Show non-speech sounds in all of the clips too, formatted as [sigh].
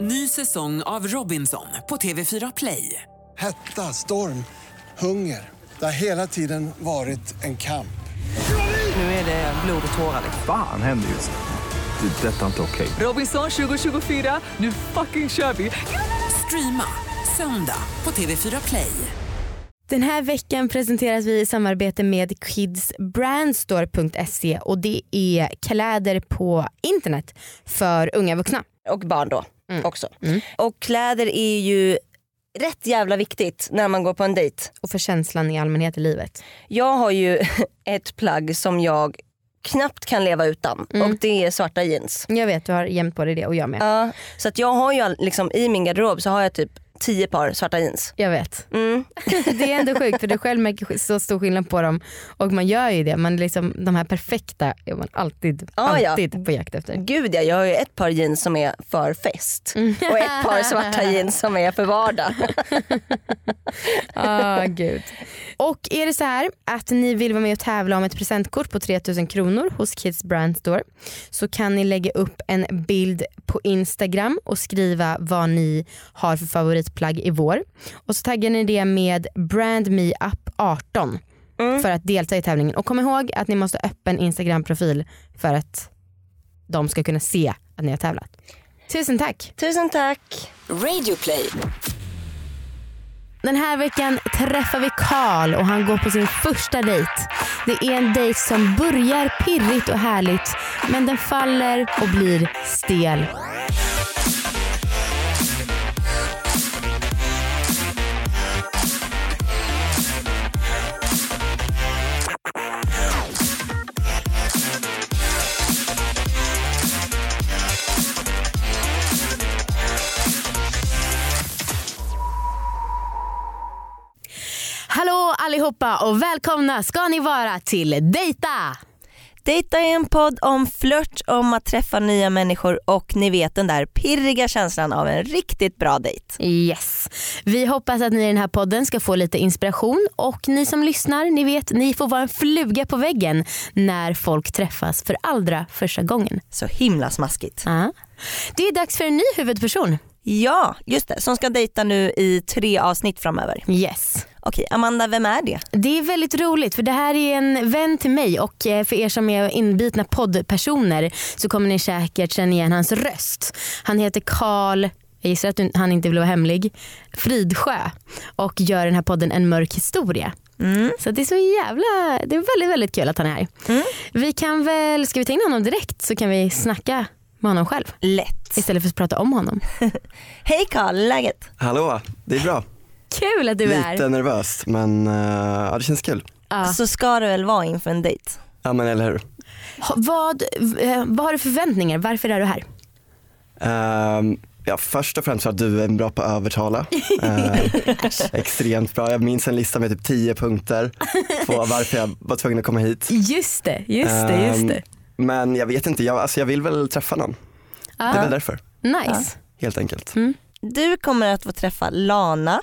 Ny säsong av Robinson på TV4 Play. Hetta, storm, hunger. Det har hela tiden varit en kamp. Nu är det blod och tårar. Fan händer just nu. Det. är Detta är inte okej. Robinson 2024, nu fucking kör vi! Streama söndag på TV4 Play. Den här veckan presenteras vi i samarbete med kidsbrandstore.se och det är kläder på internet för unga vuxna. och barn då också. Och kläder är ju rätt jävla viktigt när man går på en dejt. Och för känslan i allmänhet i livet. Jag har ju [laughs] ett plagg som jag knappt kan leva utan och det är svarta jeans. Jag vet du har jämt på dig det och jag med. Ja, så att jag har ju all- liksom, i min garderob så har jag typ tio par svarta jeans. Jag vet. Mm. [laughs] Det är ändå sjukt för du själv märker sk- så stor skillnad på dem och man gör ju det. Man liksom, de här perfekta är man alltid, Ja, ja. alltid på jakt efter. Gud ja, jag har ju ett par jeans som är för fest och ett par svarta jeans som är för vardag. Ah, gud. Och är det så här att ni vill vara med och tävla om ett presentkort på 3000 kronor hos Kids Brand Store så kan ni lägga upp en bild på Instagram och skriva vad ni har för favoritplagg i vår. Och så taggar ni det med Brand Me Up 18 för att delta i tävlingen. Och kom ihåg att ni måste ha öppen Instagram-profil för att de ska kunna se att ni har tävlat. Tusen tack! Tusen tack. Den här veckan träffar vi Karl och han går på sin första dejt. Det är en dejt som börjar pirrigt och härligt men den faller och blir stel. Hallå allihopa och välkomna ska ni vara till Dejta! Dejta är en podd om flört, om att träffa nya människor och ni vet den där pirriga känslan av en riktigt bra dejt. Yes. Vi hoppas att ni i den här podden ska få lite inspiration och ni som lyssnar, ni vet, ni får vara en fluga på väggen när folk träffas för allra första gången. Så himla smaskigt. Ja. Det är dags för en ny huvudperson. Ja, just det. Som ska dejta nu i tre avsnitt framöver. Yes. Okej, Amanda, vem är det? Det är väldigt roligt för det här är en vän till mig och eh, för er som är inbitna poddpersoner så kommer ni säkert känna igen hans röst. Han heter Karl, jag gissar att du- han inte vill vara hemlig, Fridsjö och gör den här podden En mörk historia. Så det är så jävla, det är väldigt väldigt kul att han är här. Vi kan väl, ska vi ta in honom direkt så kan vi snacka med honom själv Lätt. istället för att prata om honom. Hej Karl, läget? Hallå, det är bra. Kul att du är Lite här. nervöst men eh, ja, det känns kul. Ja. Så ska det väl vara inför en dejt? Ja men eller hur. Ha- Vad, eh, vad har du för förväntningar? Varför är du här? Ehm, ja, först och främst för att du är bra på [laughs] att övertala. Ehm, extremt bra. Jag minns en lista med typ 10 punkter på varför jag var tvungen att komma hit. Just det, just det, just Ehm, det. Men jag vet inte, jag, alltså, jag vill väl träffa någon. Det är väl därför, Ah. Nice. helt enkelt. Mm. Du kommer att få träffa Lana.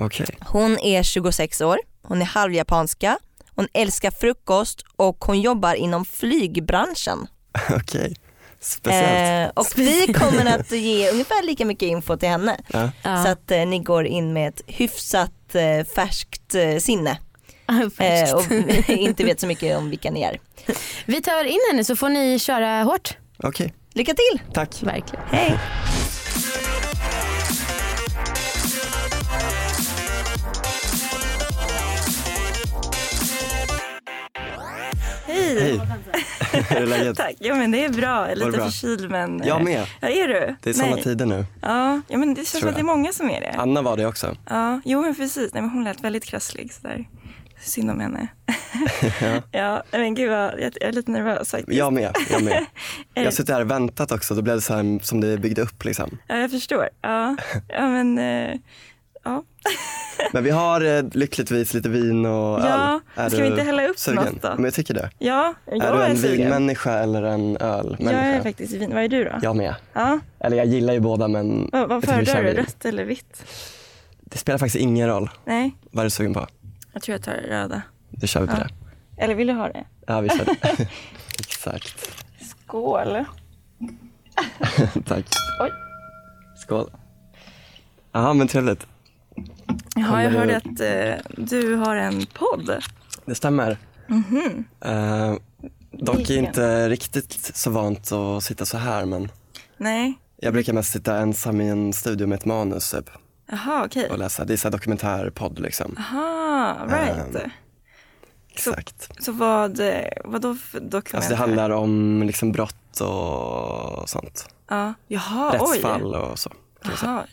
Okej. [laughs] Hon är 26 år, hon är halvjapanska, hon älskar frukost och hon jobbar inom flygbranschen. Okej. Speciellt. Eh, och vi kommer att ge ungefär lika mycket info till henne. Ja. Så [laughs] att eh, ni går in med ett hyfsat eh, färskt eh, sinne. Eh, och [laughs] inte vet så mycket om vilka ni är. Vi tar in henne så får ni köra hårt. Okej, Lycka till! tack. Verkligen. Hej! Hej. [laughs] Hur är läget? Tack, ja men det är bra. Jag Var är det lite bra? förkyld men... eh, Jag med. Ja, är du? Det är såna Nej. tider nu. Ja, ja men det känns som jag. att det är många som är det. Anna var det också. Ja, jo men precis. Nej men hon lät väldigt krasslig sådär. Synd [laughs] om henne. ja. nej, men gud vad, jag jag är lite nervös faktiskt. Jag med. Jag med. Jag har suttit här och väntat också, då blev det så här som det byggde upp liksom. Ja, jag förstår. Ja, ja men... eh, Ja, Men vi har eh, lyckligtvis lite vin och Ja, öl. Är ska vi du inte hälla upp sugen? något då? Men jag tycker det. ja jag är du en sugen. vinmänniska eller en Jag ölmänniska? är faktiskt vin. Vad är du då? Jag med. Ja. Eller jag gillar ju båda men Vad, jag vad tycker vi kör föredrar du? vin. Rött eller vitt? Det spelar faktiskt ingen roll. Nej, Vad är du sugen på? jag tror jag tar röda. Då kör vi på det. Eller vill du ha det? Ja, vi kör det. [laughs] Exakt. [laughs] Skål. Tack. Skål. Ja, men trevligt. Jaha, jag Kommer hörde du- att eh, du har en podd. Det stämmer. Eh, dock är Mhm. Vilken? inte riktigt så vant att sitta så här, men Nej, jag brukar mest sitta ensam i en studio med ett manus typ, jaha okej. och läsa. Det är så här dokumentärpodd liksom. Jaha, right. Ehm, Exakt. Ah, Så vad, eh, vad då för dokument? Alltså det handlar om liksom brott och sånt. ja. Jaha, Ah, oj. Ah. Rättsfall och så. kan vi säga. Jaha.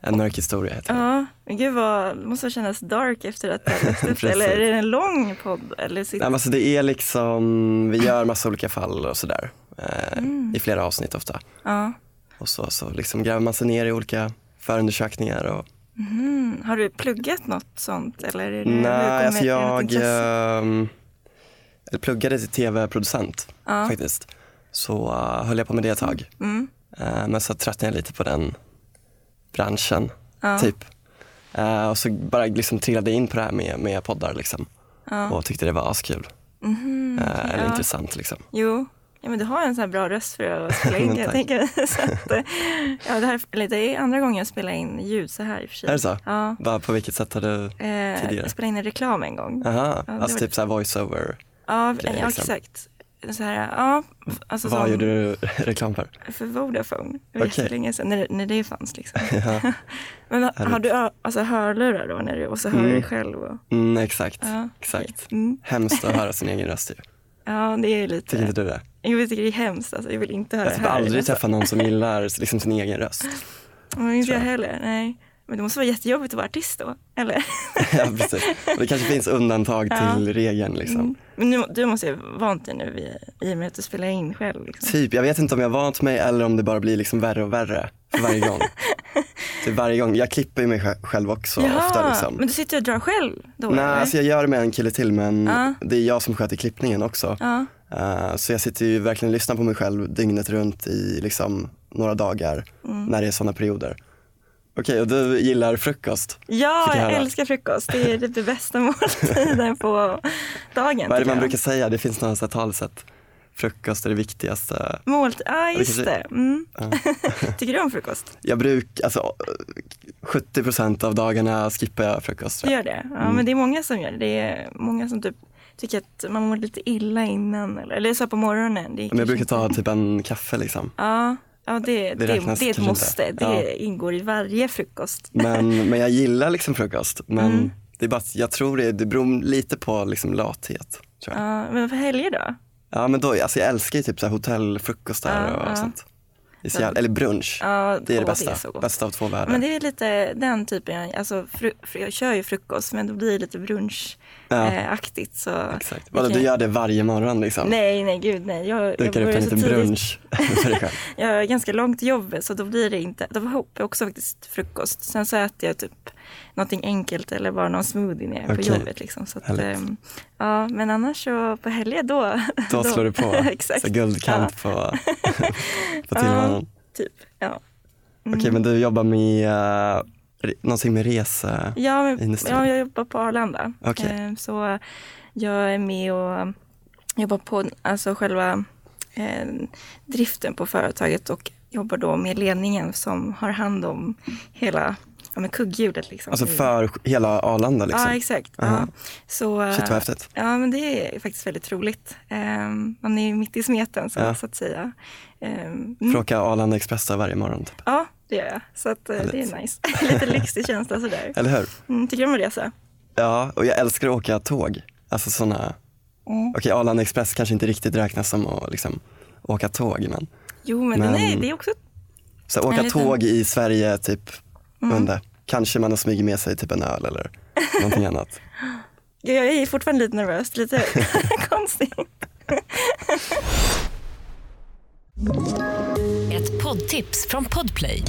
En mörk historia heter det. Ja, men gud vad, det måste kännas dark efter att det har [laughs] växt upp. Precis. Eller är det en lång podd? Eller sitter... Nej, men alltså det är liksom, vi gör massa olika fall och sådär. Eh, Mm. I flera avsnitt ofta. ja. Och så, så liksom gräver man sig ner i olika förundersökningar. Och, Har du pluggat något sånt? Eller är det, hur nej, kommer alltså ert jag intresse? ehm, jag pluggade till tv-producent faktiskt. Så eh, höll jag på med det ett tag. Mm. Eh, men så tröttnade jag lite på den branschen, typ. Eh, och så bara liksom trillade jag in på det här med, med poddar liksom. Och tyckte det var askul. eh, eller Mhm, ja. intressant liksom. Jo, ja, men du har en sån här bra röst för att [laughs] spela in. Men jag tack. tänker, [laughs] så [laughs] att, eh, ja, det, här, eller det är andra gången jag spelar in ljud så här i och för sig. Är det så? Ja. Vad- på vilket sätt har du Eh, tidigare? jag spelade in en reklam en gång. Aha, det alltså var- typ såhär voiceover. Ja, eh, ja grejer, liksom. exakt. Så här, ja, f- alltså Vad som- gjorde du [laughs] reklam [laughs] för? För Vodafone. Det var Okej. jättelänge sedan, när, när det [laughs] fanns liksom. Men har- har du ö- alltså, hörlurar då när du, och så hör du dig själv? Och, Mm, exakt, Ja, exakt. Mm. Hemskt att höra sin egen röst ju. ja, det är lite... Tycker inte du det? Jag tycker det är hemskt alltså, jag vill inte höra Jag har typ här. aldrig Alltså, träffat någon som gillar liksom sin egen [laughs] röst. men inte jag tror heller, nej. Men det måste vara jättejobbigt att vara artist då, eller? [laughs] ja, precis. Och det kanske finns undantag till regeln liksom. Men nu, du måste ju vara vant dig nu i, i och med att du spelar in själv. Liksom. Typ, jag vet inte om jag vant mig eller om det bara blir liksom värre och värre för varje [laughs] gång. typ varje gång. Jag klipper ju mig sj- själv också ofta liksom. men du sitter och drar själv då? Nej, eller? alltså jag gör det med en kille till men Ja. det är jag som sköter klippningen också. Ja. Eh, så jag sitter ju verkligen och lyssnar på mig själv dygnet runt i liksom några dagar Mm. när det är sådana perioder. Okej, och du gillar frukost. Ja, Fick jag höra. jag älskar frukost. [laughs] Det är typ det bästa måltiden på dagen. Vad är det tycker man jag. brukar säga? Det finns några så här talesätt. Frukost är det viktigaste. Målt, ja ah, just kanske- det. Mm. [laughs] Tycker du om frukost? Jag brukar, alltså eh, 70% av dagarna skippar jag frukost. Du tror jag. gör det? Ja, Mm. men det är många som gör det. Det är många som typ tycker att man mår lite illa innan. Eller, eller så på morgonen. Men Det är jag kanske brukar ta typ en kaffe liksom. Ja, ja det, det, det, räknas är ett kanske inte. måste. Det Ja. ingår i varje frukost. Men, men jag gillar liksom frukost. Men Mm. det är bara att jag tror det, det beror lite på liksom lathet. Tror jag. Ja. Ja, men för helger då? men då, alltså jag älskar ju typ så här hotellfrukostar och sånt. Det är så jävla, eller brunch. Ja, det är det åh, bästa. så gott. bästa av två världar. Men det är lite den typen, jag- alltså, fru, fru, jag kör ju frukost men då blir det lite Ja. brunchaktigt. så Exakt. det Vadå, kan- du gör det varje morgon liksom? Nej, nej gud nej. Jag, jag Dukar upp börjar en så liten tidigt. brunch [laughs] för dig själv. Jag har ganska långt jobb så då blir det inte, då hoppar jag också faktiskt frukost. Sen så äter jag typ någonting enkelt eller bara någon smoothie när jag är på Okej. jobbet. Liksom. Så att, Härligt. ehm, ja, men annars så på helger [laughs] då. Då slår du på Exakt. så guldkant på, på tillvaron. Typ. Ja. Mm. Okej, men du jobbar med eh, re- någonting med resa? Ja, men, Industrin. ja, jag jobbar på Arlanda. Okej. Ehm, Så jag är med och jobbar på alltså själva eh, driften på företaget och jobbar då med ledningen som har hand om hela ja, men kugghjulet. Liksom. Alltså för hela Arlanda liksom? Ja, exakt. Aha. Ja. Så, Shit, vad häftigt. Ja, men det är faktiskt väldigt roligt. Ehm, Man är ju mitt i smeten så, Ja. så att säga. Ehm, För att åka Arlanda Express där varje morgon typ. Ja, det gör jag. Så att, eh, det är nice. [laughs] Lite lyxig känsla sådär. Eller hur? Mm, tycker du om att resa? Ja, och jag älskar att åka tåg. Alltså sådana... Mm. Okej, Arlanda Express kanske inte riktigt räknas som att liksom, åka tåg, men Jo, men, Men- nej, det är också så här, åka En liten- Mm. tåg i Sverige, typ, under. Kanske man har smugit med sig typ en öl eller någonting [laughs] annat. Jag är fortfarande lite nervös, lite [laughs] konstigt. Ett poddtips från Podplay.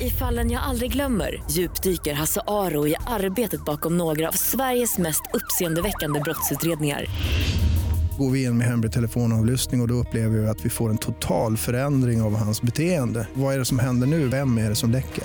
I fallen jag aldrig glömmer djupdyker Hasse Aro i arbetet bakom några av Sveriges mest uppseendeväckande brottsutredningar. Går vi in med hemlig telefonavlyssning och, och då upplever vi att vi får en total förändring av hans beteende. Vad är det som händer nu? Vem är det som läcker?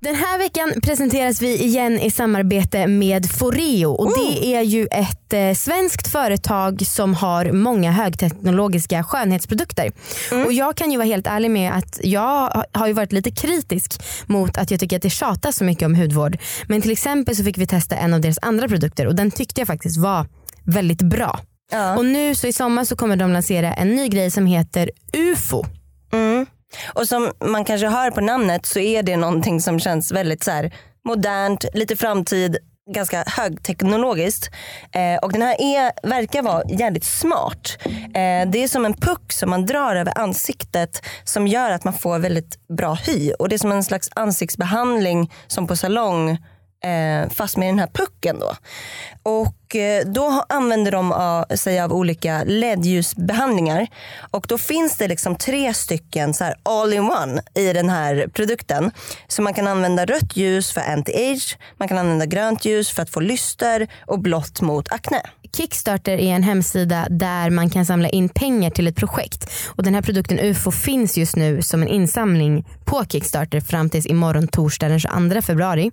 Den här veckan presenteras vi igen i samarbete med Foreo och det är ju ett eh, svenskt företag som har många högteknologiska skönhetsprodukter. Och Jag kan ju vara helt ärlig med att jag ha- har ju varit lite kritisk mot att jag tycker att det tjatas så mycket om hudvård. Men till exempel så fick vi testa en av deras andra produkter och den tyckte jag faktiskt var väldigt bra. Och nu så i sommar så kommer de lansera en ny grej som heter UFO. Mm. Och som man kanske hör på namnet så är det någonting som känns väldigt så här, modernt, lite framtid, ganska högteknologiskt. Eh, och den här är, verkar vara jävligt smart. Eh, det är som en puck som man drar över ansiktet som gör att man får väldigt bra hy. Och det är som en slags ansiktsbehandling som på salong eh, fast med den här pucken då. Och eh, då ha- använder de av, sig av olika LED-ljusbehandlingar och då finns det liksom tre stycken så här all-in-one i den här produkten. Så man kan använda rött ljus för anti-age, man kan använda grönt ljus för att få lyster och blått mot akne. Kickstarter är en hemsida där man kan samla in pengar till ett projekt. Och Den här produkten UFO finns just nu som en insamling på Kickstarter fram tills imorgon torsdag den 22 februari.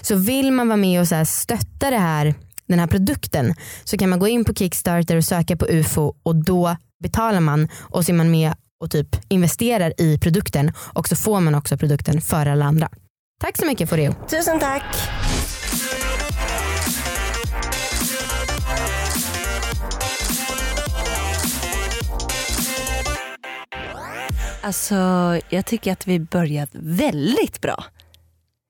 Så vill man vara med och så här stötta det här, den här produkten så kan man gå in på Kickstarter och söka på UFO och då betalar man och så är man med och typ investerar i produkten och så får man också produkten för alla andra. Tack så mycket Foreo. Tusen tack! Alltså jag tycker att vi börjat väldigt bra.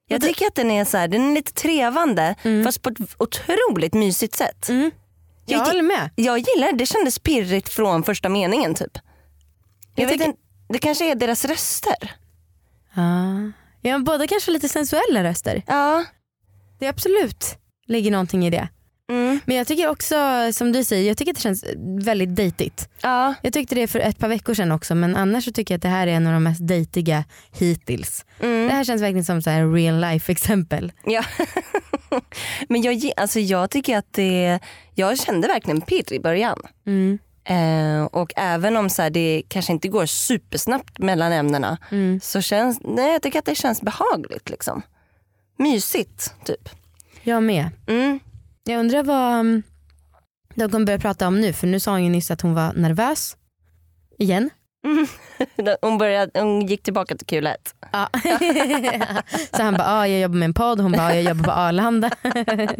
Jag tycker att den är så här, den är lite trevande fast på ett otroligt mysigt sätt. Jag gi- håller med. Jag gillar det, det kändes pirrigt från första meningen typ. Jag, vet inte, det kanske är deras röster. Ja, Ah. ja båda kanske lite sensuella röster. Ja. Det är absolut ligger någonting i det. Mm. Men jag tycker också som du säger, jag tycker att det känns väldigt dejtigt. Ja. Jag tyckte det för ett par veckor sedan också men annars så tycker jag att det här är en av de mest dejtiga hittills. Mm. Det här känns verkligen som så här real life exempel. Ja. Men jag, ge- alltså jag tycker att det, jag kände verkligen pirr i början. Mm. Eh, och även om så här, det kanske inte går supersnabbt mellan ämnena mm. så känns, nej jag tycker att det känns behagligt liksom. Mysigt typ. Jag med. Mm. Jag undrar vad mm, de kommer börja prata om nu för nu sa hon ju nyss att hon var nervös. Igen. Hon, började, hon gick tillbaka till kul ett. Ja. [laughs] så han bara, ah, jag jobbar med en podd, hon bara, ah, jag jobbar på Arlanda. [laughs]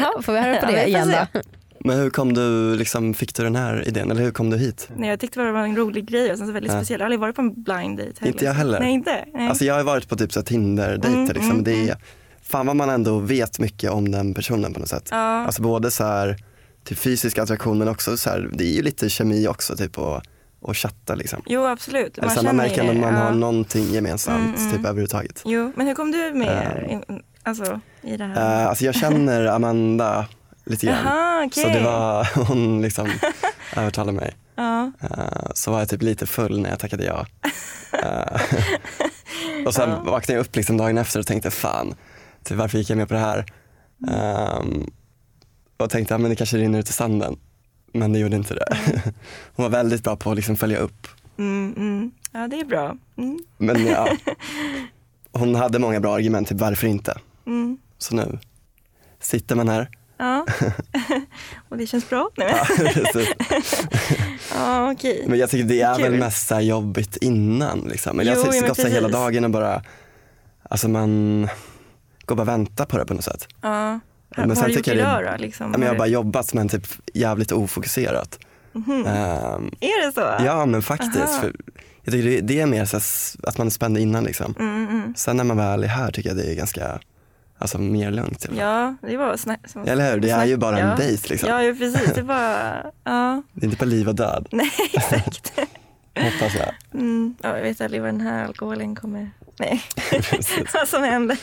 ja, får vi höra på Ja, vi det får igen se. då. Men hur kom du, liksom, fick du den här idén? Eller hur kom du hit? Nej, jag tyckte det var en rolig grej och sen så väldigt Ja. speciell. Jag har aldrig varit på en blind date heller. Inte jag heller. Nej, inte. Nej. Alltså jag har ju varit på typ så här Tinder-dejter. Mm, liksom. mm, det är, fan vad man ändå vet mycket om den personen på något sätt. Ja. Alltså både så här, typ fysisk attraktion men också så här, det är ju lite kemi också typ och, och chatta liksom. Jo, absolut. Eller så här, man märker ju- när man ja. har någonting gemensamt Mm, typ överhuvudtaget. Jo, men hur kom du med i- alltså, i det här? Eh, alltså jag känner [laughs] Amanda lite grann. Jaha, okej. Så det var, [laughs] hon [laughs] liksom övertalade mig. Ja. Eh, så var jag typ lite full när jag tackade [laughs] ja. Eh, [laughs] och sen vaknade jag upp liksom dagen efter och tänkte fan, typ, varför gick jag med på det här? Mm. Ehm, och tänkte att men det kanske rinner ut i sanden. Men det gjorde inte det. [laughs] Hon var väldigt bra på att liksom följa upp. Mm, mm. ja, det är bra. Mm, Men [laughs] ja, hon hade många bra argument, typ varför inte? mm. Så nu sitter man här. [laughs] Ja, [laughs] och det känns bra. Nej, men. Ja, precis. Ja, okej. Men jag tycker det är Kul. väl mest så här jobbigt innan. Liksom. Eller Jo, jag ja, men har gått så här hela precis. dagen och bara, alltså man går bara och väntar på det på något sätt. Ja. Men Vad har sen du gjort tycker jag det- idag då? Liksom? Ja, men jag har Har bara du- jobbat men typ jävligt ofokuserat. Ehm, Är det så? ja men faktiskt. Mhm. Aha. För jag tycker det, det är mer så här, s- att man är spänd innan liksom. Mm, mm. Sen när man väl är här tycker jag det är ganska, alltså mer lugnt. i alla fall. Ja, det var snack. som- Eller hur? Det är snack- ju bara en ja. dejt liksom. Ja, ja, precis. [laughs] Det var, ja, Det är inte på liv och död, [laughs] nej exakt. hoppas jag. Mm, ja, jag vet aldrig vad den här alkoholen kommer... Nej, [laughs] vad som händer.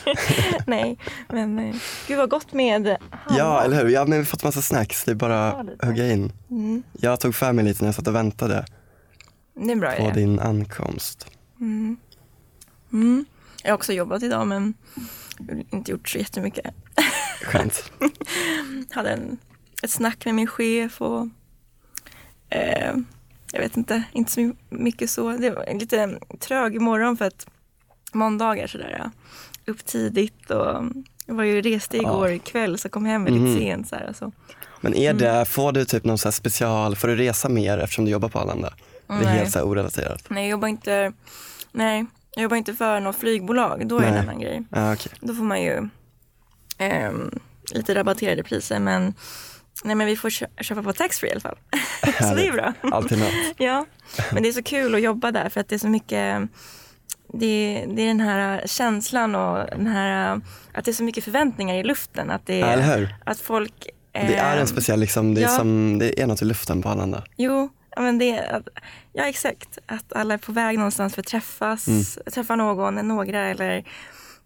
nej, men eh, gud vad gott med Ja, eller hur? Ja, men vi har fått massa snacks. Det är bara Ja, att lite. hugga in. Mm, Jag tog för mig lite när jag satt och väntade det är en bra på idé. din ankomst. Mm. Mm. Jag har också jobbat idag men inte gjort så jättemycket. Skönt. Hade en, ett snack med min chef och eh, jag vet inte, inte så mycket så. Det var en lite trög morgon för att måndagar sådär ja. upp tidigt och jag var ju reste igår kväll så kom hem väldigt Mhm. sent. Så här, alltså. Men är Mm. det, får du typ någon så här special, får du resa mer eftersom du jobbar på Arlanda? Det är Nej. helt så här orelaterat. Nej, jag jobbar inte, nej, jag jobbar inte för något flygbolag, då är det Nej. en annan grej. Ja, Ah, okej. Då får man ju ehm, lite rabatterade priser men, nej, men vi får kö- köpa på taxfree i alla fall. [laughs] så det är bra. Alltid [laughs] något. Ja, men det är så kul att jobba där för att det är så mycket det, det är den här känslan och den här, att det är så mycket förväntningar i luften. Att, det, Ja, eller hur? att folk... Det är en ehm, speciell, liksom, det, är ja. som, det är något i luften på Arlanda. Jo, ja, men det är, att- ja exakt. Att alla är på väg någonstans för att träffas, Mm. träffa någon, några eller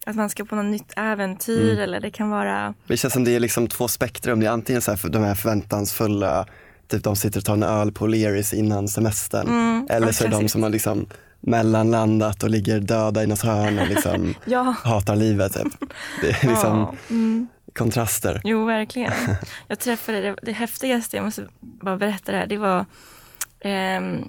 att man ska på något nytt äventyr Mm. eller det kan vara Det känns som det är liksom två spektrum. Det är antingen så här, för de här förväntansfulla, typ de sitter och tar en öl på O'Learys innan semestern. Eller så är det de Mm, precis. som har liksom mellanlandat och ligger döda i något hörn och liksom [laughs] Ja. hatar livet. Typ. Det är liksom [laughs] Ja, mm. kontraster. [laughs] Jo, verkligen. Jag träffade det, det häftigaste, jag måste bara berätta det här, det var ehm,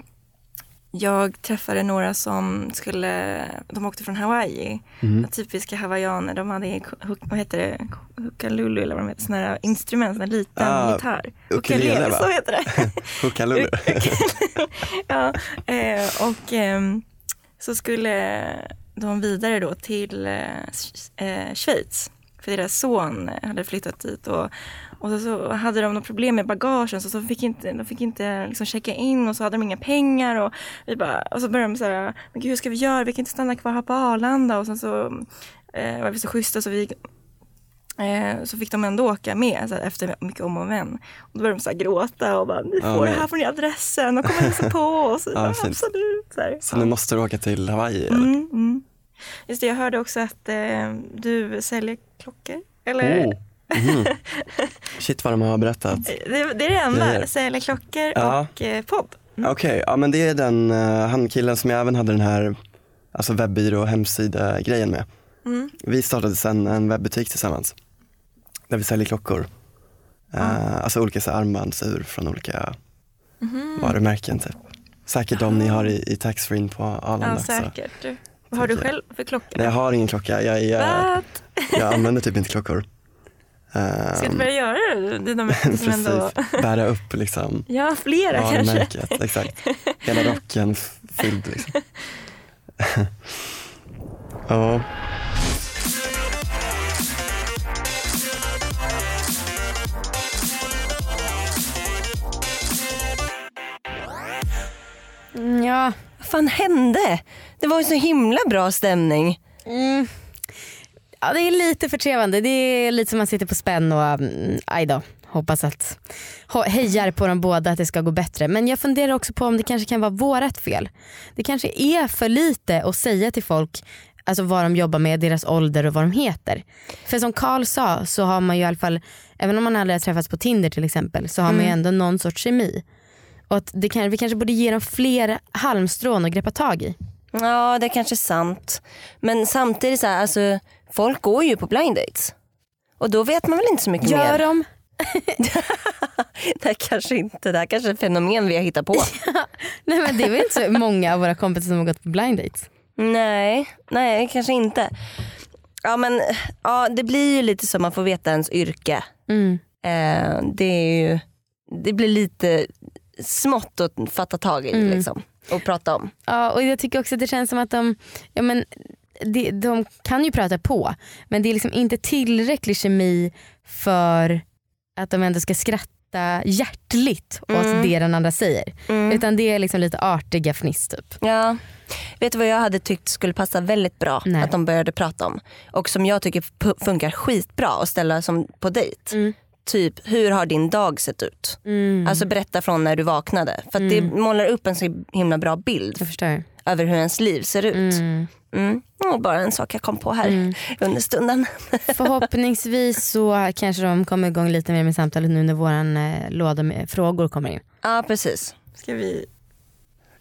jag träffade några som skulle, de åkte från Hawaii, Mm. typiska hawaiianer, de hade, hu- vad heter det, hukalulu eller vad de heter, sådana här instrument, sån här liten Ah, gitarr. ukulele, va? så [laughs] heter det. Hukalulu. [laughs] ja, eh, och ehm, så skulle de vidare då till eh, Sch- eh, Schweiz. För deras son hade flyttat dit och, och så, så hade de något problem med bagagen så, så fick inte, de fick inte liksom checka in och så hade de inga pengar och, vi bara, och så började de så här, men gud hur ska vi göra, vi kan inte stanna kvar här på Arlanda och sen så eh, var vi så schyssta så vi gick- Eh, så fick de ändå åka med så här, efter mycket om och men. Och då började de så här gråta och bara, ni Ja, får det nej. här från adressen, de kommer [laughs] hälsa på oss. Och vi Ja, bara, fint. absolut. Så här. Så nu måste du åka till Hawaii. Eller? Mm, mm. Just det, jag hörde också att eh, du säljer klockor. Eller? Eh, [laughs] Oh. Mhm. Shit vad de har berättat. Det, det är det enda, Grejer. säljer klockor Ja. och eh, podd. Okej, ja men det är den eh, han killen som jag även hade den här alltså webbyrå och hemsida-grejen med. Mm. Vi startade sen en webbutik tillsammans där vi säljer klockor. Eh, alltså olika så här armbandsur från olika Mm-hmm. varumärken typ. Säkert de ni har i, i taxfree på Arlanda. Ja, också. säkert. Du, vad har du Tänker jag. själv för klocka? typ Nej jag har ingen klocka, jag, jag, Vad? jag använder typ inte klockor. Eh, Ska du börja göra det? Det är [laughs] de det [laughs] som precis, ändå... bära upp liksom [laughs] Ja, flera kanske. varumärket. Exakt. Hela rocken f- fylld liksom. [laughs] ja. Mm, Ja. Vad fan hände? Det var ju så himla bra stämning. Mm. Ja, det är lite förtrevande. Det är lite som man sitter på spänn och mm, aj då, hoppas att ho- hejar på dem båda att det ska gå bättre. Men jag funderar också på om det kanske kan vara vårat fel. Det kanske är för lite att säga till folk alltså vad de jobbar med, deras ålder och vad de heter. För som Carl sa så har man ju i alla fall, även om man aldrig har träffats på Tinder till exempel, så har man ju ändå någon sorts kemi. Och att det kan, vi kanske borde ge dem fler halmstrån att greppa tag i. Ja, det är kanske är sant. Men samtidigt så här, alltså, folk går ju på blind dates. Och då vet man väl inte så mycket Gör mer. de Det här kanske inte, det här kanske är ett fenomen vi har hittat på. Nej men det är väl inte så många av våra kompisar som har gått på blind dates. nej, nej kanske inte. Ja men ja, det blir ju lite som man får veta ens yrke. Eh, det är ju, det blir lite smått att fatta tag i liksom. Och prata om. Ja och jag tycker också att det känns som att de, ja, men, de, de kan ju prata på men det är liksom inte tillräcklig kemi för att de ändå ska skratta hjärtligt åt Mm. det den andra säger. Utan det är liksom lite artiga fniss typ. Ja. Vet du vad jag hade tyckt skulle passa väldigt bra Nej. att de började prata om? Och som jag tycker pu- funkar skitbra att ställa som på dejt. Mm. Typ, hur har din dag sett ut? Alltså berätta från när du vaknade. För att det målar upp en så himla bra bild Jag förstår. över hur ens liv ser ut. Mm. Och bara en sak jag kom på här under stunden. Mm. Förhoppningsvis så kanske de kommer igång lite mer med samtalet nu när våran eh, låda med frågor kommer in. ja precis. Ska vi...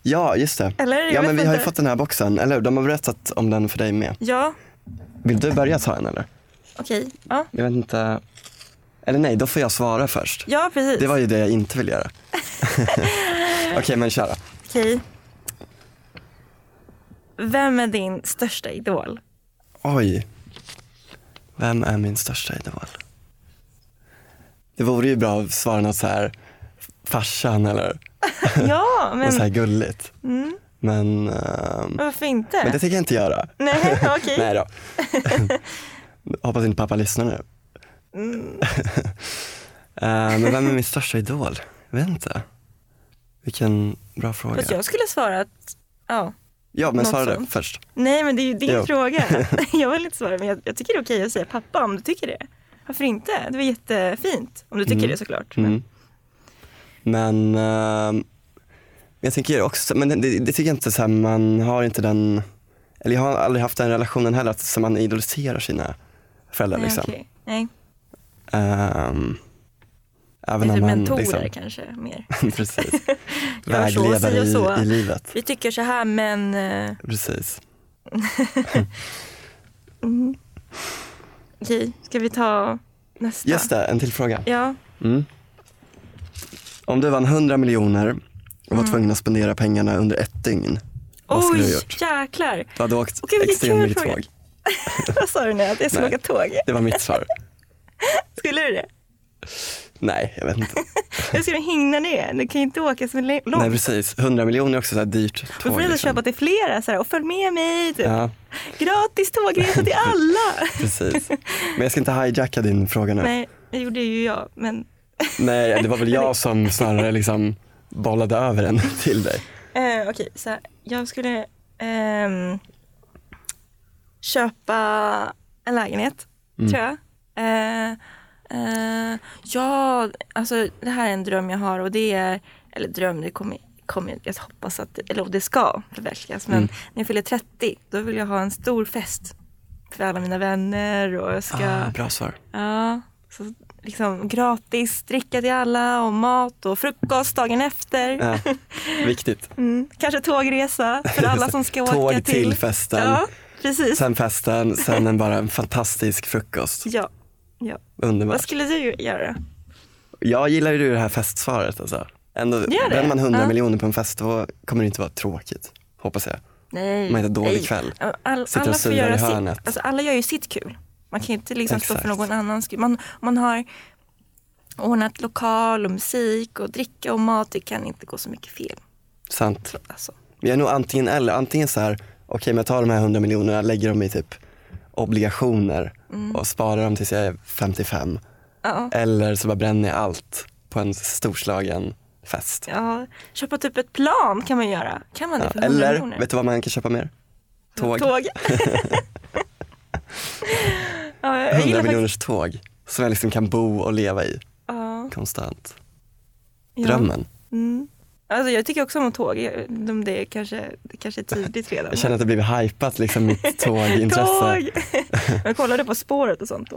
ja, just det. Eller? Jag ja, vet men vi har ju inte. fått den här boxen, eller hur? De har berättat om den för dig med. Ja, Vill du börja ta en eller? okej. Ja. Jag vet inte. Eller nej, då får jag svara först. ja, precis. Det var ju det jag inte vill göra. [laughs] Okej, men kör då. Okej. [laughs] Vem är din största idol? Oj. Vem är min största idol? Det vore ju bra att svara något så här farsan eller Ja, men, Mm. något så här gulligt. Men, ehm, men varför inte? men det tänker jag inte göra. [laughs] Nej, okej. [laughs] Nej [laughs] då. Hoppas inte pappa lyssnar nu. Mm. [laughs] Eh, men vem [laughs] är min största idol? Jag vet inte. Vilken bra fråga. Fast jag skulle svara att, ja. Ja men något svara det sånt. först. Nej men det är ju din Jo. fråga. [laughs] Jag vill inte svara men jag, jag tycker det är okej att säga pappa om du tycker det. Varför inte? Det var jättefint. Om du tycker Mm. det såklart. Mm. Men ehm, jag tänker också, men det, det, det tycker jag inte så här, man har inte den, eller jag har aldrig haft den relationen heller att så man idoliserar sina föräldrar Nej, liksom. okej. Nej, Ehm, även lite om man mentorer liksom, [laughs] kanske mer. [laughs] precis, Gör så, vägledare si och så. i, i livet. Vi tycker så här men eh, Precis. okej, ska vi ta nästa? Just det, en till fråga. Ja, Mm. Om du vann 100 miljoner och var tvungen att spendera pengarna under ett dygn, vad skulle du Mm. ha oj gjort? jäklar. Du hade åkt Okej, vilken extremt kul mycket fråga. tåg. [laughs] Vad sa du nu? Att jag skulle Nej. åka tåg? Det var mitt [laughs] svar. Skulle du det? Nej, jag vet inte. Hur ska du hinna det? Du kan ju inte åka så långt. Nej precis, 100 miljoner är också så här dyrt Då tåg. får du liksom. köpa till flera så här, och följ med mig. Typ. Ja, Gratis [laughs] tågresa till alla. precis. Men jag ska inte hijacka din fråga nu. Nej, det gjorde ju jag. Men, Nej, det var väl [laughs] jag som snarare liksom bollade över den till dig. eh, okej, så här, jag skulle ehm, köpa en lägenhet, tror jag. Eh, eh, ja, alltså det här är en dröm jag har och det är, eller dröm, det kommer Kommer, jag hoppas att, eller det ska förverkligas, men när jag fyller 30 då vill jag ha en stor fest för alla mina vänner och jag ska Ah, bra svar. Ja, så liksom gratis dricka till alla och mat och frukost dagen efter. [laughs] Ja, viktigt. Mm, kanske tågresa för alla som ska åka Tåg till. till festen. Ja, precis. Sen festen, sen en bara en fantastisk frukost. Ja, ja. Vad Underbart. skulle du göra? Jag gillar ju det här festsvaret alltså. Ändå, det? bränner man 100 Ja. miljoner på en fest då kommer det inte vara tråkigt. Hoppas jag. Nej. Man är en dålig nej. kväll. All, Sitter och alla får syrar i göra sitt. hörnet. Alltså, alla gör ju sitt kul. Man kan ju inte liksom stå för Exakt. någon annans skull. Man, man har ordnat lokal och musik och dricka och mat. Det kan inte gå så mycket fel. Sant. Alltså. Men jag är nog antingen eller. Antingen så här, okej men jag tar de här 100 miljonerna, lägger dem i typ obligationer och sparar dem tills jag är 55. Mm. Ja. Eller så bara bränner jag allt på en storslagen fest. Ja, köpa typ ett plan kan man göra. Kan man det Ja, för 100 Eller, miljoner? vet du vad man kan köpa mer? Tåg. [laughs] [laughs] ja, jag 100 gillar miljoners tåg som jag liksom kan bo och leva i Ja, konstant. ja. Drömmen. Mm. Alltså, jag tycker också om att tåg. Jag vet inte om Det är kanske, det kanske är tidigt redan. Jag känner att det blivit hypat liksom [laughs] mitt tågintresse. [laughs] Tåg! Jag kollade På spåret och sånt då.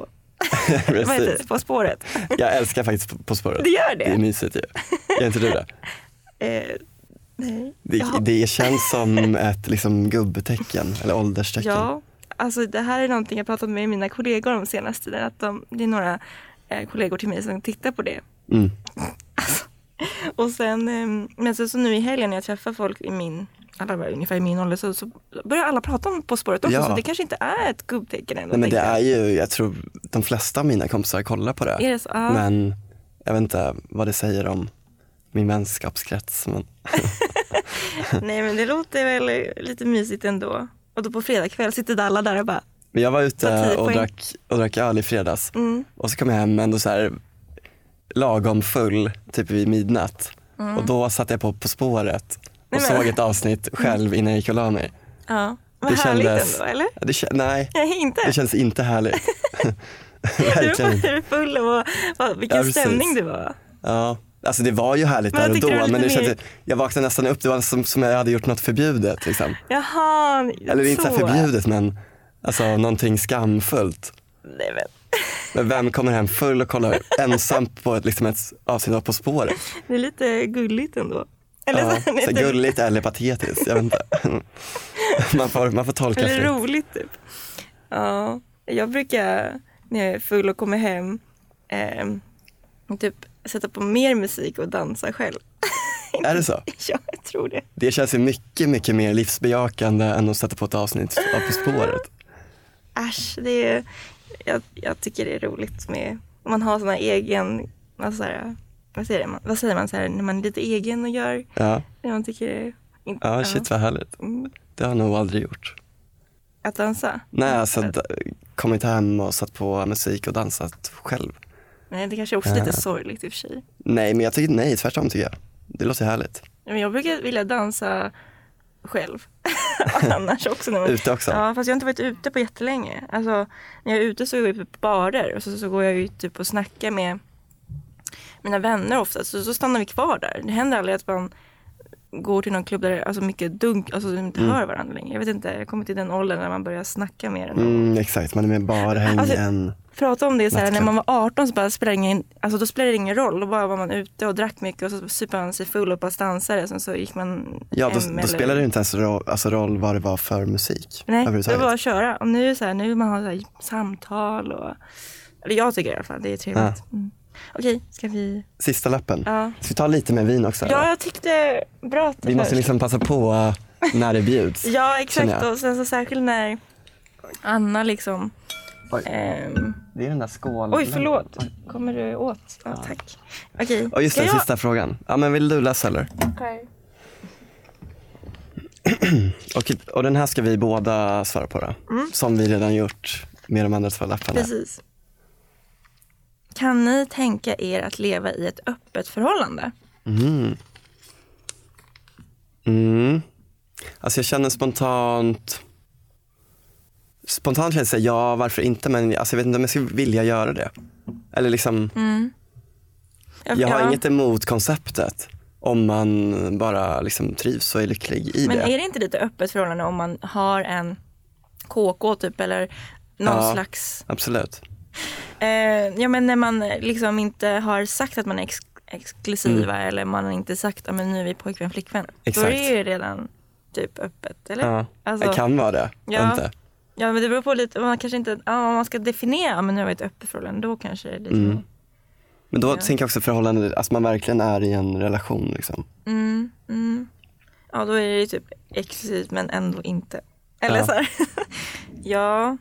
Vad heter det? Precis. På spåret. Jag älskar faktiskt På- På spåret. Det gör det? Det är mysigt ju. Gör inte du det? Eh, nej. Det, Jaha. det känns som ett liksom, gubbtecken, eller ålderstecken. Ja, alltså det här är någonting jag pratat med mina kollegor om senaste tiden. Att de, det är några eh, kollegor till mig som tittar på det. Mm. Och sen, eh, men så, så nu i helgen när jag träffar folk i min, alla var ungefär i min ålder, så, så börjar alla prata om På spåret också. Ja. Så det kanske inte är ett gubbtecken ändå. Nej, men det tänkte jag. är ju, jag tror de flesta av mina kompisar kollar på det. Är det så? Ja. Men jag vet inte vad det säger om min vänskapskrets. Men, Nej men det låter väl lite mysigt ändå. Och då på fredag kväll sitter alla där och bara, men jag var Ta ute tio och poäng. Mm. drack, och drack öl i fredags och så kom jag hem ändå så här lagom full, typ vid midnatt. Och då satte jag på På spåret och Mm. Nej, men- såg ett avsnitt själv innan jag gick och la mig. ja, vad härligt ändå eller? [laughs] Ja, Det, kä- nej, Nej inte. det känns inte [laughs] härligt. [laughs] Du Verkligen inte. var full och vad, vilken Ja, precis. stämning det var. Ja, alltså det var ju härligt Men där jag och tycker det då var lite men det mer- kändes, jag vaknade nästan upp, det var som, som jag hade gjort något förbjudet. Liksom. Jaha, Eller det är inte så. så här förbjudet men alltså, någonting skamfullt. Nej, men, Men vem kommer hem full och kollar ensam på ett, liksom ett avsnitt av På spåret? det är lite gulligt ändå. Eller, Ja, så, [laughs] så här gulligt eller patetiskt, jag vet inte. [laughs] Man får, man får tolka Eller fritt. roligt typ. Ja, jag brukar när jag är full och kommer hem ehm, typ sätta på mer musik och dansa själv. [laughs] Är det så? ja, jag tror det. Det känns ju mycket, mycket mer livsbejakande än att sätta på ett avsnitt av På spåret. Äsch, det är, jag, jag tycker det är roligt med, om man har såna egen, vad, så här, vad säger man, vad säger man så här, när man är lite egen och gör Ja, det man tycker är, in, ja shit vad härligt. Mm. Det har jag nog aldrig gjort. att dansa. Nej, alltså d- kommit hem och satt på musik och dansat själv. Nej, det kanske är också lite sorgligt i och för sig. Nej, men jag tycker nej, tvärtom tycker jag. Det låter härligt. Men jag brukar vilja dansa själv. [laughs] Annars också. När man... Ute också? Ja, fast jag har inte varit ute på jättelänge. Alltså, när jag är ute så går jag ut på barer och så, så går jag ut typ och snackar med mina vänner ofta. Så, så stannar vi kvar där. Det händer aldrig att man går till någon klubb där det är alltså mycket dunk, alltså de Mm. inte hör varandra längre. Jag vet inte, jag kommer till den åldern när man börjar snacka mer. Än Mm, exakt, man är med barhäng Alltså- än... Prata om det så här, när Nattklubb. man var 18 så bara spelade det ingen, alltså då spelade det ingen roll. Då bara var man ute och drack mycket och så supade man sig full och bara dansade. Sen så gick man Ja, då, hem då eller- spelar det inte ens roll, alltså roll vad det var för musik Nej, det var överhuvudtaget. bara att köra. Och nu är det så här, nu vill man ha så här samtal och... Eller jag tycker i alla fall, det är trevligt. Mm. Okej, ska vi... Sista lappen. Ja. Ska vi ta lite mer vin också? Ja, eller? jag tyckte bra att det Vi måste först. liksom passa på eh, när det bjuds. Ja, känner exakt. jag. Och sen så särskilt när Anna liksom... Oj. ehm, Det är den där skålen. oj, förlåt. Kommer du åt? Ja, tack. Okej. Och just Ska den jag- sista frågan. Ja, men vill du läsa eller? [clears throat] Okej. Och, och den här ska vi båda svara på då. Mm. Som vi redan gjort med de andra två lapparna. Precis. Kan ni tänka er att leva i ett öppet förhållande? Mm. Alltså jag känner spontant... Spontant känns det ja, varför inte? Men alltså jag vet inte om jag skulle vilja göra det. Eller liksom, jag har Mm. Ja. inget emot konceptet. Om man bara liksom trivs och är lycklig i Men det. är det inte lite öppet förhållande om man har en KK typ eller någon Ja. slags, Absolut. eh, ja men när man liksom inte har sagt att man är ex- exklusiva eller man har inte sagt att men nu är vi pojkvän flickvän. Då Mm. Exakt. är det ju redan typ öppet eller? Ja. Alltså, det kan vara det. Ja. Inte. Ja men det beror på lite, man kanske inte, ja, om man ska definiera, ja, men nu har vi ett öppet förhållande, då kanske det är lite Mm. mer. Men då tänker jag också förhållande, att man verkligen är i en relation. Liksom. Mm, Ja, då är det ju typ exklusivt men ändå inte. Eller Ja. så här. [laughs] ja.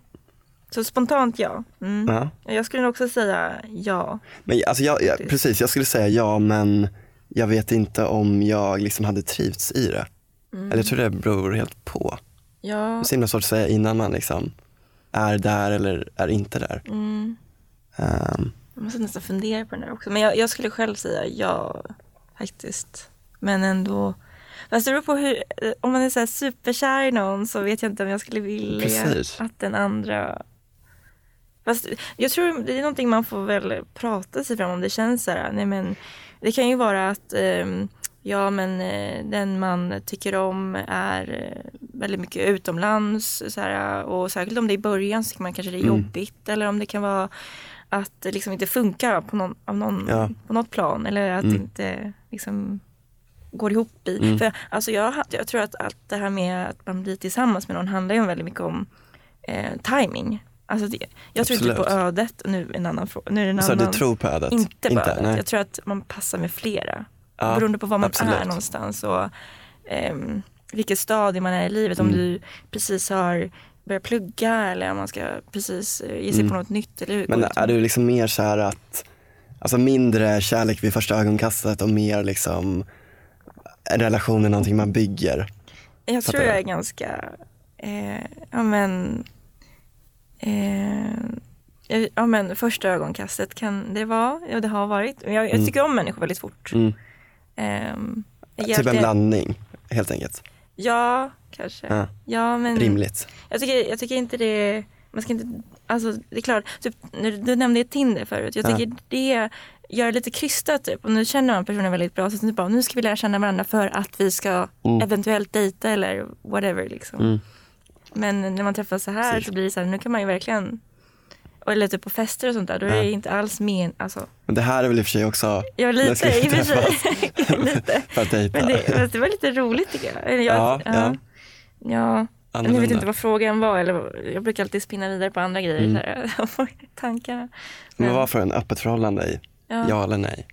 Så spontant ja. Mm. Ja. Jag skulle nog också säga ja. Men alltså jag, jag, precis, jag skulle säga ja, men jag vet inte om jag liksom hade trivts i det. Mm. Eller jag tror det beror helt på. Det Ja, är så himla svårt att säga innan man liksom är där eller är inte där. Ehm, jag måste nästan fundera på den här också. Men jag, jag skulle själv säga ja, faktiskt. Men ändå. Fast det beror på hur, eh, om man är så här superkär i någon så vet jag inte om jag skulle vilja Precis. att den andra... Fast jag tror det är någonting man får väl prata sig fram om. Det känns så här, nej men det kan ju vara att ehm, ja men eh, den man tycker om är eh, väldigt mycket utomlands så här, och särskilt om det är i början så tycker man kanske det är jobbigt eller om det kan vara att det liksom inte funkar på, någon, av någon, Ja. på något plan eller att det inte liksom går ihop i. Mm. För, alltså jag, jag tror att allt det här med att man blir tillsammans med någon handlar ju väldigt mycket om eh, timing. Alltså det, jag tror inte på Absolut. ödet, och nu en annan fråga. Nu är det en så du annan, tror på ödet? inte på ödet. nej. Jag tror att man passar med flera. Ja, beroende på var man absolut. är någonstans och ehm, vilket stadie man är i livet. Mm. Om du precis har börjat plugga eller om man ska precis eh, ge sig på något nytt. Eller hur, Mm. Men går det är till? du liksom mer så här att, alltså mindre kärlek vid första ögonkastet och mer liksom en relation är någonting man bygger? Jag Fattar tror jag jag. är ganska, eh, ja men, eh, jag- ja men första ögonkastet kan det vara, ja det har varit. Men Jag, jag tycker om människor väldigt fort. Mm. Ehm, jag Typ en hjälpte- blandning helt enkelt. Ja, kanske. Ja. Ja, men Rimligt. Jag, tycker, jag tycker inte det, man ska inte, alltså det är klart, typ, när du, du nämnde Tinder förut. Jag Ja. tycker det gör det lite krystat typ. Och nu känner man personen väldigt bra. Så typ bara, nu ska vi lära känna varandra för att vi ska Mm. eventuellt dejta eller whatever liksom. Men när man träffas så här så blir det så här, nu kan man ju verkligen, och eller typ på fester och sånt där, då är det inte alls men, alltså, Men det här är väl i och för sig också... ja när lite ska vi i och för träffas? sig. lite. För att dejta. Men det, men det var lite roligt tycker jag. Eller jag Ja, ja. ja. Jag vet Annorlunda. Mm. inte vad frågan var. Eller, vad- jag brukar alltid spinna vidare på andra grejer. Så här, [laughs] tankarna. Men vad var för en öppet förhållande i? Ja. Ja, eller nej?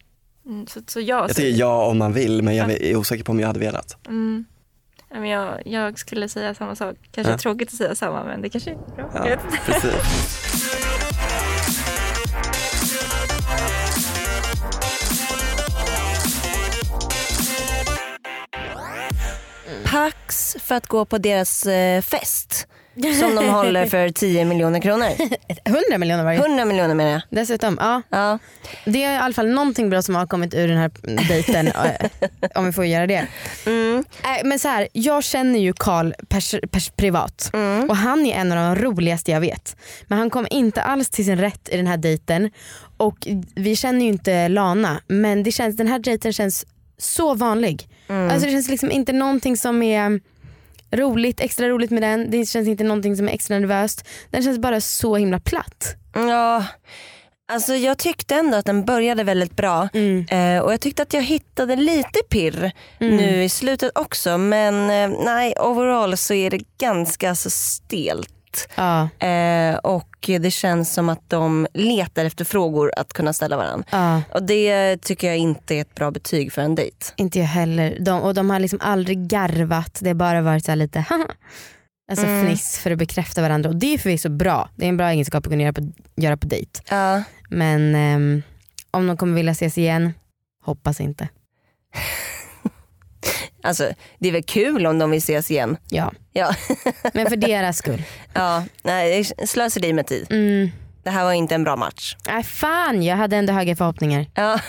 Mm, Så, så jag, Jag tycker ja om man vill, men jag är osäker på om jag hade velat. ja, men jag, jag skulle säga samma sak. Kanske Ja. tråkigt att säga samma men det kanske är bra. Jag Ja, vet inte. precis. tax för att gå på deras eh, [laughs] fest som de håller för 10 miljoner kronor. 100 miljoner varje. 100 miljoner menar jag. Dessutom, ja. Ja. Det är i alla fall någonting bra som har kommit ur den här dejten. eh, om vi får göra det. Eh, Men så här, jag känner ju Karl pers- pers- privat Mm. och han är en av de roligaste jag vet. Men han kom inte alls till sin rätt i den här dejten och vi känner ju inte Lana men det känns, den här dejten känns så vanlig. Alltså det känns liksom inte någonting som är roligt, extra roligt med den. Det känns inte någonting som är extra nervöst. Den känns bara så himla platt. Ja, alltså jag tyckte ändå att den började väldigt bra eh, och jag tyckte att jag hittade lite pirr nu i slutet också men eh, nej overall så är det ganska så stelt Ja, eh, och det känns som att de letar efter frågor att kunna ställa varandra. ja. Och det tycker jag inte är ett bra betyg för en dejt. Inte jag heller. De, och de har liksom aldrig garvat, det har bara varit så här lite [laughs] haha. Alltså Mm. fniss för att bekräfta varandra. Och det är förvisso bra. Det är en bra egenskap att kunna göra på, göra på dejt. Ja. Men ehm, om de kommer vilja ses igen, hoppas inte. Alltså det är väl kul om de vill ses igen. Ja. Ja, [laughs] Men för deras skull. ja. nej slöseri med tid. Mm. Det här var inte en bra match. Nej fan, jag hade ändå höga förhoppningar. Ja.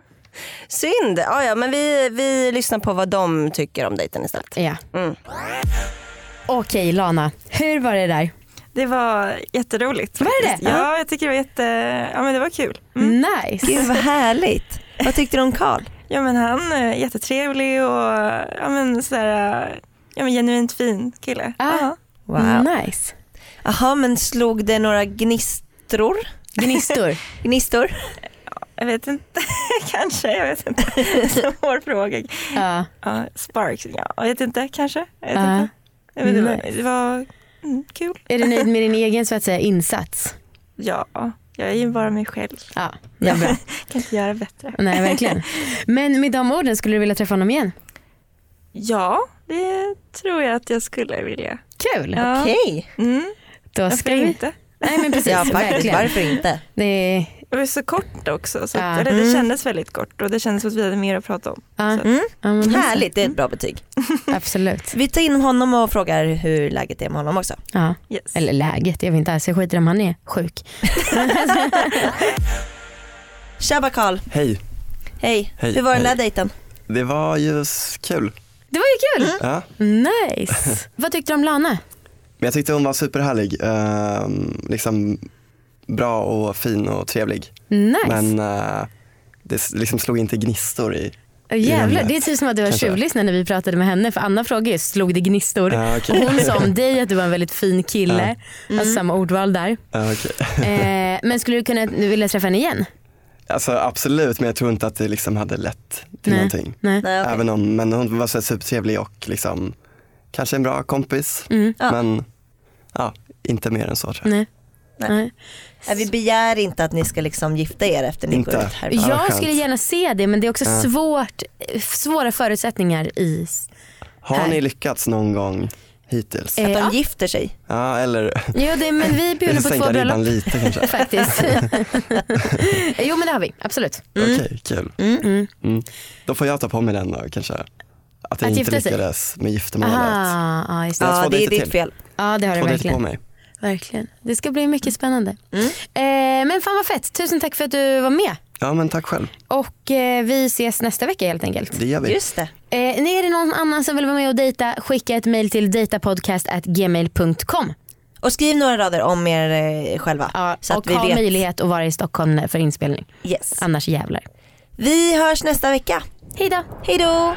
[laughs] Synd. Ja, ja, men vi, vi lyssnar på vad de tycker om dejten istället. Ja. Mm. Okej Lana, hur var det där? Det var jätteroligt. Var det faktiskt. det? Ja, jag tycker det var jätte... Ja, men det var kul. Mm. Nice. Gud vad härligt. Vad tyckte du om Karl? Ja, men han är jättetrevlig och ja, men sådär, ja, men genuint fin kille. Ah. Ja. Wow. Nice. Jaha, men slog det några gnistror? [laughs] Gnistor. Gnistor? Jag vet inte, [laughs] kanske. Jag vet inte. [laughs] Svår fråga. ja. Ja, sparks, ja, jag vet inte, kanske. Jag vet Ja. inte. Jag vet, inte. Nice. Det var mm, kul. Är du nöjd med din egen så att säga insats? Ja, jag är ju bara mig själv. Ja, det är bra. Kan inte göra bättre. Nej verkligen. Men med de orden, skulle du vilja träffa honom igen? Ja, det tror jag att jag skulle vilja. Kul! Ja. Okej. Mm, Då varför ska vi... inte? Nej men precis, [laughs] Ja, faktiskt. verkligen. Varför inte? Det är... Det var ju så kort också. Så Ja. Mm. att, eller det kändes väldigt kort och det kändes som att vi hade mer att prata om. Ja. Så- Ja, men, Mm. Härligt, det är ett bra betyg. Absolut. Vi tar in honom och frågar hur läget är med honom också. Ja. Yes. Eller läget, jag vet inte alls. Jag skiter om han är sjuk. Tjabba Karl, Hej, hej. Hej, Hur var den hej. där dejten? det var ju s- kul. Det var ju kul! Ja. Nice! Vad tyckte du om Lana? Men jag tyckte hon var superhärlig. Ehm, liksom bra och fin och trevlig. Nice! Men eh, det s- liksom slog inte gnistor i. Åh, Jävlar, Ja, det är typ som att du var kanske. tjuvlyssnare när vi pratade med henne för Anna frågade ju, slog det gnistor? Ja, okej. Och hon sa om dig att du var en väldigt fin kille. Alltså samma ordval [laughs] där. Ja, okej. Eh, men skulle du kunna du vilja träffa henne igen? Alltså absolut, men jag tror inte att det liksom hade lett till Nej. någonting. Nej. Nej, okej. Även om, men hon var så här supertrevlig och liksom kanske en bra kompis. Mm, Ja. Men ja, inte mer än så tror jag. Nej. Nej. Nej. Nej, Vi begär inte att ni ska liksom gifta er efter ni Inte. går ut härifrån. Ja, vad Jag skönt. skulle gärna se det men det är också Ja. svårt, svåra förutsättningar i... Har Här. ni lyckats någon gång hittills? Eh, Att ja. de gifter sig. Ja, eller Jo, det, men vi vi bjuder får på två [laughs] sänka ribban bröllop lite kanske. [laughs] faktiskt. jo men det har vi, absolut. Okej, kul. Mm. Då får jag ta på mig den då kanske. Att jag Att inte gifta sig? lyckades med giftermålet. Aha, ja, just det. Jag har Ja, två det är dejter ditt till. fel. ja det har du Två Mm. dejter på verkligen. mig. verkligen. Det ska bli mycket spännande. Eh, men fan vad fett, tusen tack för att du var med. Ja men tack själv, Och eh, vi ses nästa vecka helt enkelt. det gör vi. Just det. Eh, är det någon annan som vill vara med och dejta, skicka ett mail till dejtapodcastgmail.com. Och skriv några rader om er eh, själva. Ja, så att och vi ha vet. möjlighet att vara i Stockholm för inspelning. Yes. Annars jävlar. Vi hörs nästa vecka. Hej då! Hej då!